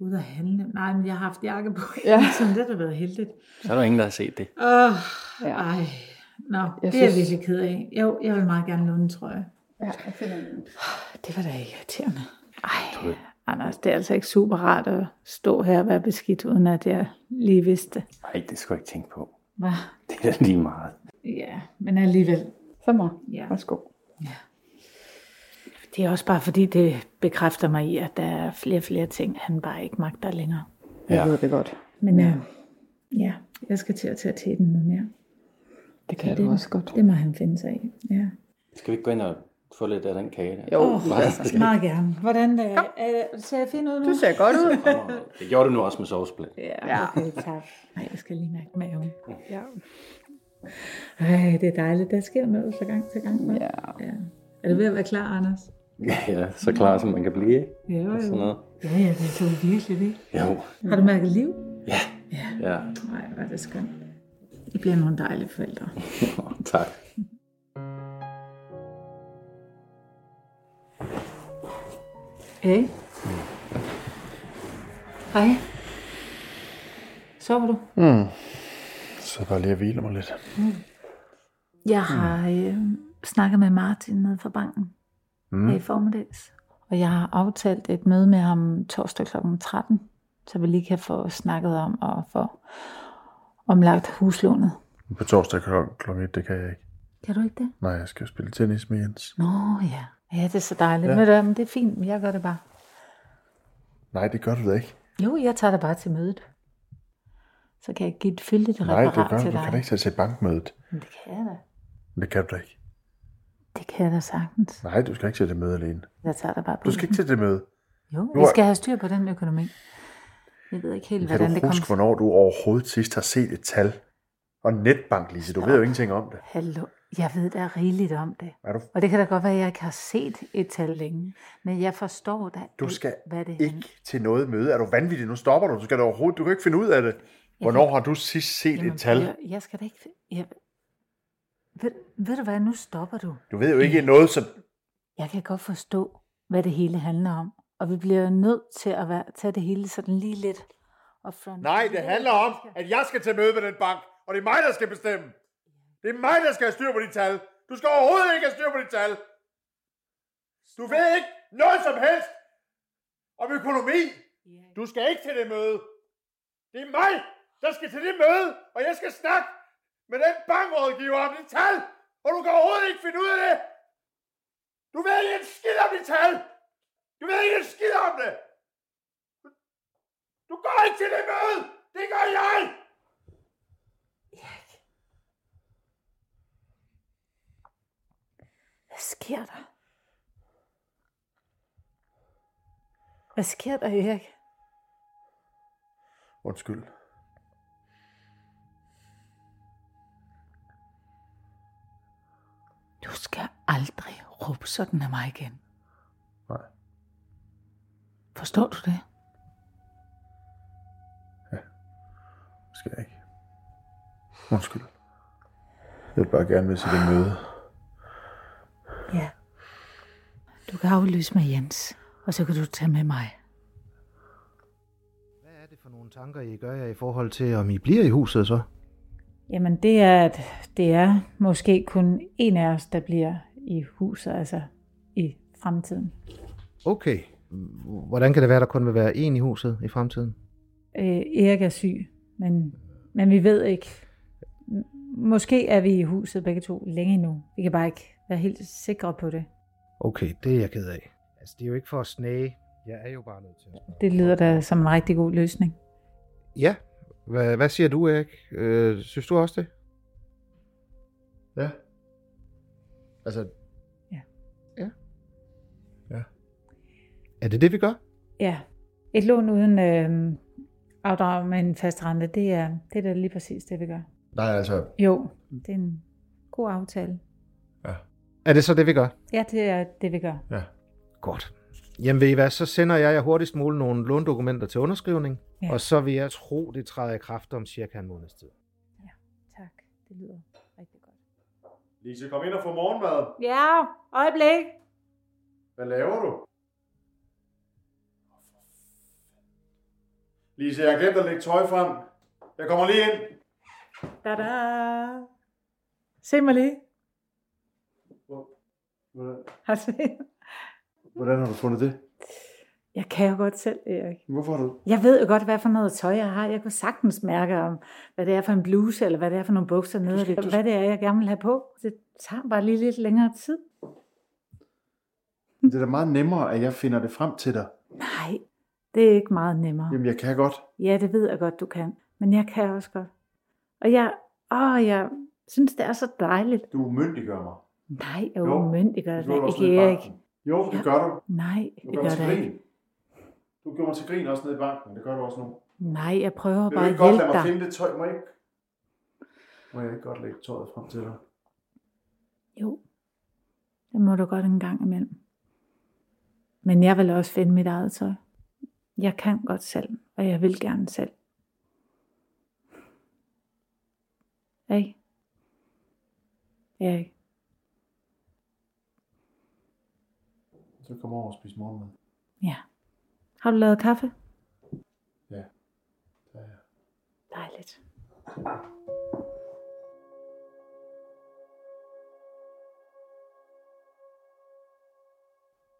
ude at handle. Nej, men jeg har haft jakke på.
Ja.
Så det har da været heldigt.
Så er der ingen, der har set det.
Åh,
Ja.
ej. Nå, det er
synes-
jeg virkelig ked af. Jo, jeg vil meget gerne låne en trøje.
Ja, jeg finder den.
Det var da irriterende. Ej, Anders, det er altså ikke super rart at stå her og være beskidt, uden at jeg lige vidste.
Nej, det skal du ikke tænke på.
Hvad?
Det er da lige meget.
Ja, men alligevel.
Så mor,
Ja.
værsgo.
Det er også bare fordi, det bekræfter mig i, at der er flere og flere ting, han bare ikke magter længere.
Jeg
Ja.
ved det godt.
Men ja, ja jeg skal til at tage teten med mere.
Det kan
Det-
du også godt.
Det må han finde sig i. Ja.
Skal vi ikke gå ind og få lidt af den kage der?
Jo,
Åh,
Meget.
Meget gerne. Hvordan øh, øh, ser jeg fin ud nu?
du ser godt ud.
Åh, Det gjorde du nu også med sovsplæt.
Ja, okay, tak. Nej, jeg skal lige mærke maven.
Ja.
Ej, det er dejligt. Der sker noget fra gang til gang. Ja. ja. Er det ved at være klar, Anders?
ja, så klar som man kan blive. ikke?
Ja, jo,
Og sådan
jo.
noget.
Ja, ja, det tog virkelig det.
Jo.
Har du mærket liv?
Ja,
Nej, hvor er det skønt. I bliver nogle dejlige forældre.
tak.
Hey. Hej. Sover du?
Mm. Så bare lige at hvile mig lidt.
Jeg
Mm.
har øh, snakket med Martin nede fra banken mm. her i formiddags. Og jeg har aftalt et møde med ham torsdag kl. 13, så vi lige kan få snakket om og få omlagt huslånet.
På torsdag kl- klokken 1, det kan jeg ikke.
Kan du ikke det?
Nej, jeg skal jo spille tennis med Jens.
Nå ja. Ja, det er så dejligt.
Ja.
Ja. Men, øh, men det er fint, men jeg gør det bare.
Nej, det gør du da ikke.
Jo, jeg tager det bare til mødet. Så kan jeg give et fyldigt
Nej,
referat
det gør du.
til dig.
Du kan da ikke tage til bankmødet.
Men det kan jeg da.
Men det kan du da ikke.
Det kan jeg da sagtens.
Nej, du skal ikke til det møde alene.
Jeg tager det bare på.
Du skal ikke til det møde.
Jo,
Nu
vi
er-
skal have styr på den økonomi. Jeg ved ikke helt,
Kan
hvordan
du
det
huske,
kommer.
hvornår du overhovedet sidst har set et tal? Og netbank, Lise, du ved jo ingenting om det.
Hallo, jeg ved da rigeligt om det.
Er du?
Og det kan da godt være, at jeg ikke har set et tal længe. Men jeg forstår da
Du
ikke,
skal
hvad det er.
ikke til noget møde. Er du vanvittig? Nu stopper du. Du skal da overhovedet. Du kan ikke finde ud af det. Hvornår har du sidst set et tal?
Jeg, jeg skal da ikke... Jeg, ved, ved du hvad, nu stopper du.
Du ved jo ikke noget, som...
Jeg kan godt forstå, hvad det hele handler om. Og vi bliver jo nødt til at være, tage det hele sådan lige lidt up front.
Nej, det handler om, at jeg skal til møde med den bank. Og det er mig, der skal bestemme. Det er mig, der skal have styr på de tal. Du skal overhovedet ikke have styr på de tal. Du ved ikke noget som helst om økonomi. Du skal ikke til det møde. Det er mig, der skal til det møde, og jeg skal snakke med den bankrådgiver om de tal. Og du kan overhovedet ikke finde ud af det. Du ved ikke en skid om de tal. Du ved ikke en skid om det. Du går ikke til det møde. Det gør jeg.
Hvad sker der? Hvad sker der, Erik?
Undskyld.
Du skal aldrig råbe sådan af mig igen.
Nej.
Forstår du det?
skal jeg ikke. Undskyld. Jeg vil bare gerne med til det møde.
Ja. Du kan aflyse med Jens, og så kan du tage med mig.
For nogle tanker, I gør jer i forhold til, om I bliver i huset så?
Jamen det er, at det er måske kun en af os, der bliver i huset, altså i fremtiden.
Okay. Hvordan kan det være, der kun vil være en i huset i fremtiden?
Øh, Erik er syg, men, men vi ved ikke. M- Måske er vi i huset begge to længe endnu. Vi kan bare ikke være helt sikre på det.
Okay, det er jeg ked af. Altså, det er jo ikke for at snage. Jeg er jo bare nødt til at spørge.
Det lyder da som en rigtig god løsning.
Ja. Hvad, hvad siger du, Erik? Øh, synes du også det?
Ja. Altså...
Ja.
Ja.
Ja.
Er det det, vi gør?
Ja, et lån uden øh, afdrag med en fast rente, det er, det er da lige præcis det, vi gør.
Nej, altså...
Jo, det er en god aftale.
Er det så det, vi gør?
Ja, det er det, vi gør.
Godt. Jamen ved I hvad, så sender jeg jer hurtigst muligt nogle låndokumenter til underskrivning,
Ja.
ja. og så vil jeg tro, det træder i kraft om cirka en måneds tid.
Tak, det lyder rigtig godt.
Lise, kom ind og få morgenmad.
Ja, øjeblik.
Hvad laver du? Lise, jeg har glemt at lægge tøj frem. Jeg kommer lige ind.
Da da. Se mig lige. Har du set?
Hvordan har du fundet det?
Jeg kan jo godt selv, Erik.
Hvorfor har du...
Jeg ved jo godt, hvad for noget tøj jeg har. Jeg kunne sagtens mærke om, hvad det er for en bluse, eller hvad det er for nogle bukser nede,
skal-
eller hvad det er, jeg gerne vil have på. Det tager bare lige lidt længere tid.
Det er da meget nemmere, at jeg finder det frem til dig.
Nej, det er ikke meget nemmere.
Jamen, jeg kan godt.
Ja, det ved jeg godt, du kan. Men jeg kan også godt. Og jeg, åh, jeg synes, det er så dejligt.
Du umyndiggør mig.
Nej, jeg
Jo,
umyndiggør
det
det
gjorde
da
du også
ikke,
med
Erik.
banken. Jo, det gør du.
Nej,
Du
det
gør mig
gør
til
det ikke.
grin. Du gjorde mig til grin også nede i banken. Det gør du også nu.
Nej, jeg prøver
Vil du
bare
ikke
at
godt lade
hjælpe
mig
dig.
finde det tøj, må jeg ikke? Må jeg ikke godt lægge tøjet frem til dig?
Jo, det må du godt en gang imellem. Men jeg vil også finde mit eget tøj. Jeg kan godt selv, og jeg vil gerne selv. Hey. Erik.
Så kom over og spis morgenmad.
Ja. Har du lavet kaffe?
Ja. Ja,
Dejligt.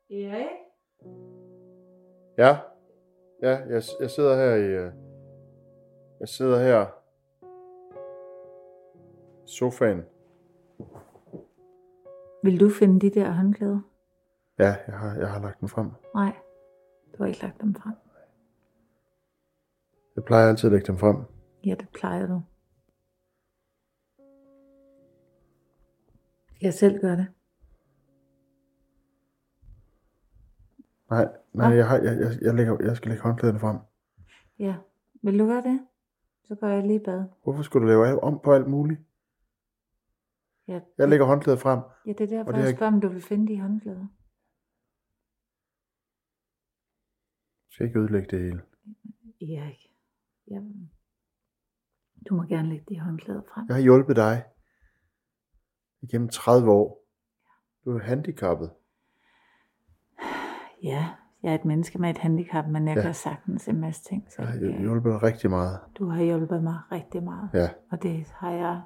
Ja,
Ja, ja jeg, jeg sidder her i... øh, Jeg sidder her... I sofaen.
Vil du finde de der håndklæder?
Ja, jeg har, jeg har lagt den frem.
Nej, du har ikke lagt dem frem.
Jeg plejer altid at lægge dem frem.
Ja, det plejer du. Skal jeg selv gøre det?
Nej, nej, jeg, har, jeg, jeg, jeg, lægger, jeg skal lægge håndklæderne frem.
Ja. Vil du gøre det? Så går jeg lige i bad.
Hvorfor skulle du lave al- om på alt muligt?
Ja,
Jeg lægger håndklædet frem.
ja det er derfor,
Og
det
det
jeg
er-
spørger, om du vil finde de håndklæder.
Jeg skal ikke ødelægge det hele.
Erik. Ja. Du må gerne lægge de håndklæder frem.
Jeg har hjulpet dig igennem 30 år. Du er handicappet.
Ja, jeg er et menneske med et handicap, men jeg ja.
Ja.
kan sagtens en masse ting. Så
Jeg har hjulpet dig rigtig meget.
du har hjulpet mig rigtig meget.
Ja.
Og det har jeg,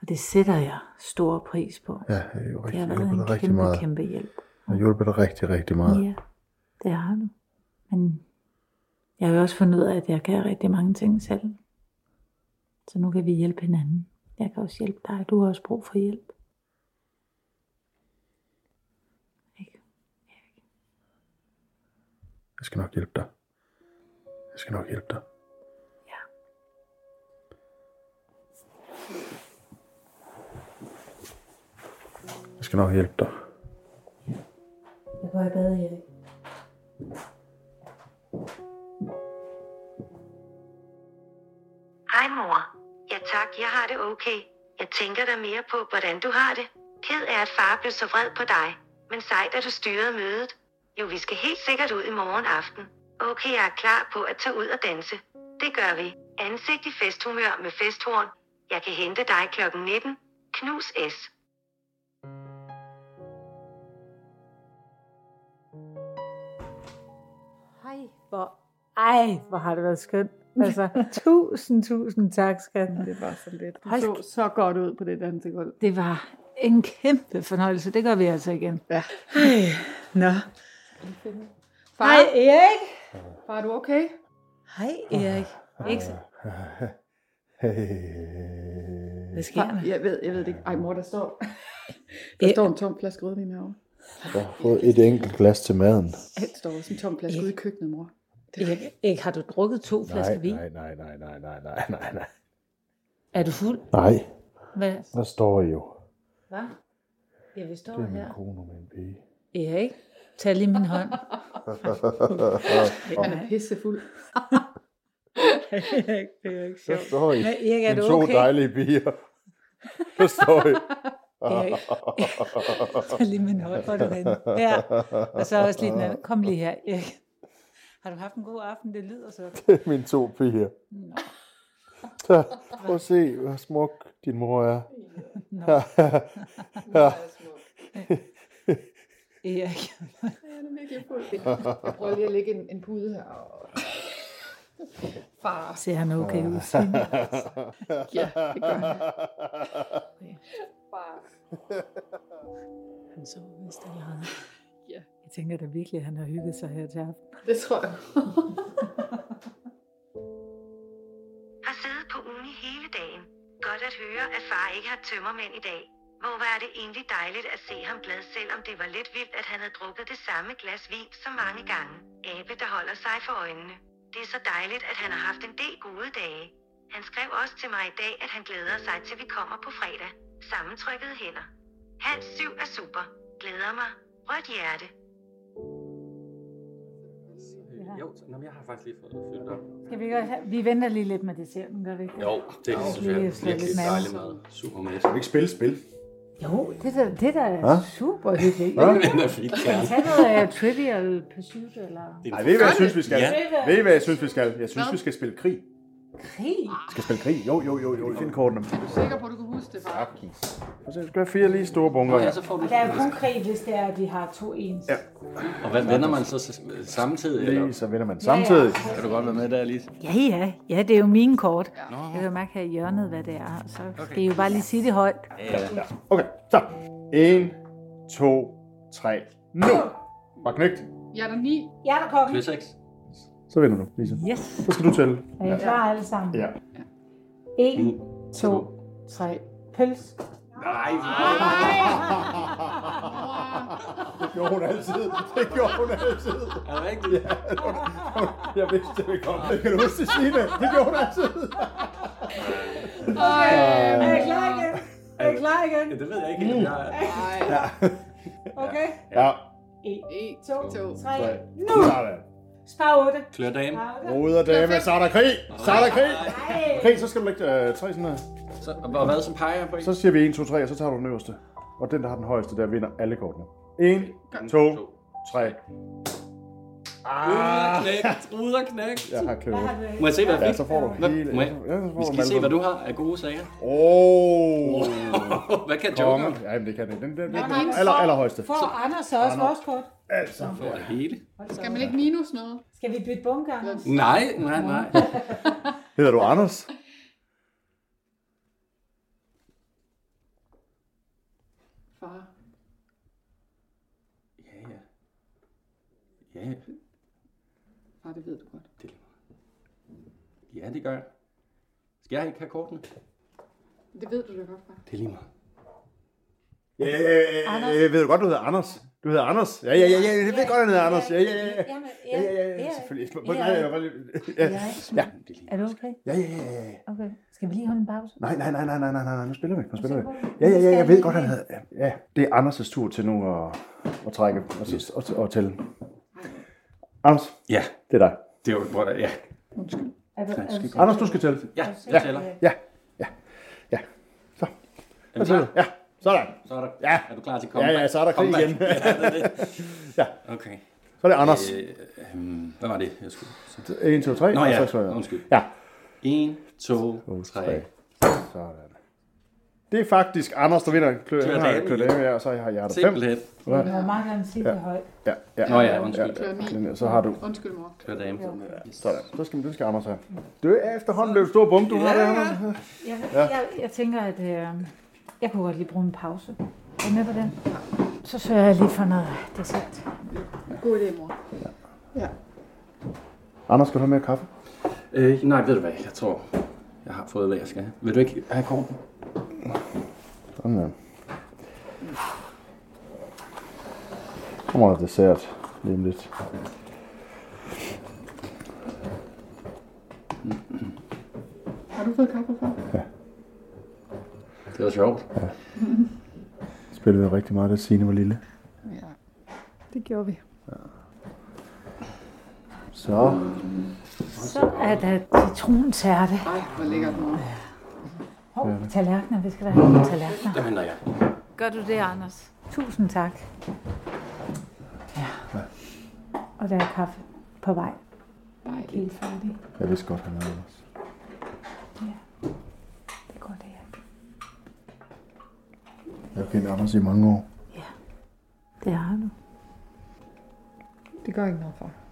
og det sætter jeg stor pris på.
Ja, jeg har jo
det har
rigtig,
været
hjulpet dig
en
rigtig
kæmpe,
meget.
kæmpe hjælp.
Jeg har hjulpet dig rigtig, rigtig meget.
Ja, det har du. Men jeg har jo også fundet ud af, at jeg kan rigtig mange ting selv. Så nu kan vi hjælpe hinanden. Jeg kan også hjælpe dig. Du har også brug for hjælp.
Jeg skal nok hjælpe dig. Jeg skal nok hjælpe dig. Ja. Jeg skal nok hjælpe dig.
Jeg går i bad, Erik.
Hej mor. Ja tak, jeg har det okay. Jeg tænker der mere på, hvordan du har det. Ked af, at far blev så vred på dig. Men sejt, at du styrede mødet. Jo, vi skal helt sikkert ud i morgen aften. Okay, jeg er klar på at tage ud og danse. Det gør vi. Ansigt i festhumør med festhorn. Jeg kan hente dig kl. 19. Knus S.
Hej, hvor... Ej, hvor har det været skønt. Altså, tusind, tusind tak, skat.
Det var så lidt. Du
Hold
så så godt ud på det dansegulv.
Det var en kæmpe fornøjelse. Det gør vi altså igen.
Ja.
Hej. Nå.
Far?
Hej,
Erik! Far, er du okay?
Hej, Erik. Ikke så-
Hvad
sker der?
Jeg ved, jeg ved det ikke. Ej, mor, der står, der står en tom flaske rødvin herovre.
Jeg har fået et enkelt glas til maden.
Der står også en tom flaske ude i køkkenet, mor.
Erik, Erik, har du drukket to flasker vin?
nej, nej, nej, nej, nej, nej, nej, nej.
Er du fuld?
Nej,
Hvad?
der står I jo.
Hvad? Ja, vi står
Det er min
her.
kone med en pige.
Erik, tag lige min hånd.
Han er pissefuld.
Erik, det er ikke
Der står I.
Men Erik, er
Mine
du
to
okay?
dejlige piger. Der står I.
Erik, tag lige min hånd. Hvor er du henne? Ja. Og så også lige den anden. Kom lige her, Erik. Har du haft en god aften? Det lyder så.
Det er mine to piger. Så, prøv at se, hvor smuk din mor er.
Nå.
Ja. ja.
Erik.
Han er virkelig fuld. Jeg prøver lige at lægge en, en pude her. Og... Far.
Ser han okay ud?
Ja, det gør han. Far.
Han så vist allerede. Ja. Jeg tænker da virkelig, at han har hygget sig her til aften.
Det tror jeg.
Har siddet på uni hele dagen. Godt at høre, at far ikke har tømmermænd i dag. Hvor var det egentlig dejligt at se ham glad, selvom det var lidt vildt, at han havde drukket det samme glas vin så mange gange. Abe, der holder sig for øjnene. Det er så dejligt, at han har haft en del gode dage. Han skrev også til mig i dag, at han glæder sig til vi kommer på fredag. Sammentrykkede hænder. Halv syv er super. Glæder mig. Rødt hjerte.
Ja. her?
Jo, så, nå, men jeg har faktisk lige fået det fyldt op.
Skal vi, gøre, vi venter lige lidt med desserten, gør vi ikke?
Jo, det er
Lige
selvfølgelig
slå lidt
virkelig
mad.
dejlig mad. Super mad.
Skal vi ikke spille spil?
Jo, det er da, det er da
Hva?
super hyggeligt.
Hva?
ikke?
Den er fint,
Skal vi
ja.
tage noget af Trivial Pursuit, eller
Nej, ved I, hvad jeg synes, vi skal?
Ja.
Ved I, hvad jeg synes, vi skal? Jeg synes,
Hvad?
vi skal spille krig.
krig?
Vi skal spille krig? Jo, jo, jo, jo. Find kortene.
Sikker på, at du kan huske det, far.
Og så skal jeg fire lige store bunker her.
Og der er jo kun krig, hvis det er, at de har to ens. Ja.
Og hvad vender man så s- samtidig? Eller?
Lige, så vender man
samtidig.
Kan du godt være med der, Lise?
Ja, ja. Ja, det er jo mine kort. Ja. Jeg kan jo mærke her i hjørnet, hvad det er. Så okay. skal I jo bare lige sige det højt.
Ja. Okay, så. En, to, tre. Nu! Bare knægt.
Jeg er der ni.
Jeg er der kokken.
Plus 6.
Så vender du, Lise.
Yes.
Så skal du tælle.
Er I Øh, klar alle sammen?
Ja.
1, 2, 3. Pøls.
Nej, Det gjorde hun altid. Det gjorde hun altid.
Er det rigtigt?
Ja, det var- jeg vidste, det ville komme. Kan du huske det, Signe? Det gjorde hun altid.
Okay,
Øh.
er I klar igen? Er I klar igen?
Ja, det ved jeg ikke. helt, om Jeg...
Ja.
Okay.
Ja.
1, 2, 3.
Nu!
Spar 8.
Klør dame.
Ruder dame, så er der krig! Så er der krig!
Nej.
Okay, så skal du lægge øh, tre sådan her.
Så, og hvad så peger jeg på en?
Så siger vi 1, 2, 3, og så tager du den øverste. Og den, der har den højeste, der vinder alle kortene. 1, 2, 3.
Ruder knægt, ruder knægt.
Jeg har købt.
Må jeg se, hvad jeg
Ja,
fik?
så får du
Hvad-
hele...
Må jeg?
Ja, så får
Vi
du
skal
dem
lige
alle
se,
sammen.
hvad du har af gode sager.
Åh!
Hvad kan
Konge.
Joker?
Jamen, det kan den. Den, den, den,
Nå, nej,
den
men
aller,
får-
allerhøjeste.
Får Anders så også
Anders.
vores kort?
Altså.
Får jeg hele?
Skal man ikke minus noget?
Skal vi bytte bunker, Anders?
Nej, nej, nej.
Hedder du Anders?
Far.
Ja, ja. Ja, ja.
Far, det ved du godt.
Det er lige meget. Ja, det gør jeg. Skal jeg ikke have kortene?
Det ved du da godt, far.
Det er lige meget.
Ja, ja, ja, ja, jeg ved du godt, du hedder Anders. Du hedder Anders. Ja, ja, ja, ja. Jeg ved godt, han hedder Anders. Ja, ja, ja. Ja, ja, ja, ja. Selvfølgelig. Nej, nej, jeg var lige... Ja, ja,
Er du okay?
ja, ja, ja, ja.
Okay. Skal vi lige holde en pause?
Nej, nej, nej, nej, nej, nej, nej, nej, nu spiller vi. Nu spiller vi. Ja, ja, ja, jeg ved godt, han hedder... Ja, det er Anders' tur til nu at, at trække og, og, og tælle. Anders,
Ja,
det er dig.
det er jo prøv at- ja.
Er du, er du sikker?
Anders, du skal tælle.
Ja,
Ja,
jeg tæller.
ja, ja, ja. ja. Så.
Er
Hvad
vi
siger du?
klar?
Ja, sådan.
Så er der.
Ja.
Er du klar til
Ja,
comeback?
ja, så er der krig
Comeback.
igen.
Ja, det er det.
Ja,
Okay.
så er det Anders.
Øh, øhm, hvad var det, jeg skulle?
1, 2, 3.
Øh, Nå ja,
og så, så,
undskyld.
Ja.
1, 2, 3.
Sådan. Det er faktisk Anders, der vinder. Klø,
Klør
han har
dame.
klør dame, ja, og så har jeg der 5.
Simpelthen.
Jeg må meget gerne sige det højt.
Ja, ja.
Nå ja, undskyld.
Klør ni.
Den, så har du.
Undskyld, mor.
Kør dame.
Sådan. Så skal, den skal Anders have. Du er efterhånden løbet stor bunke, du har der. Anders.
Jeg, jeg, jeg tænker, at øh, jeg kunne godt lige bruge en pause. Er I med på den? Så sørger jeg lige for noget dessert.
God idé, mor.
Anders, skal du have mere kaffe?
Øh, nej, ved du hvad? Jeg tror, jeg har fået, hvad jeg skal have. Vil du ikke have korten?
Sådan der. Kommer der dessert lige om lidt.
Har du fået kaffe, far?
Det var sjovt.
Spillede jeg rigtig meget, da Signe var lille.
Ja. Det gjorde vi.
Så.
Så er der citrontærte.
Ej, hvor lækkert, mor.
Hov, tallerkener. Vi skal da have nogle tallerkener.
Der henter jeg.
Gør du det, Anders? Tusind tak. Ja. Og der er kaffe på vej.
Dejligt.
Helt færdig.
Jeg vidste godt, han havde Anders.
Det går det her.
Jeg har kendt Anders i mange år.
Det har du.
Det gør ikke noget, far.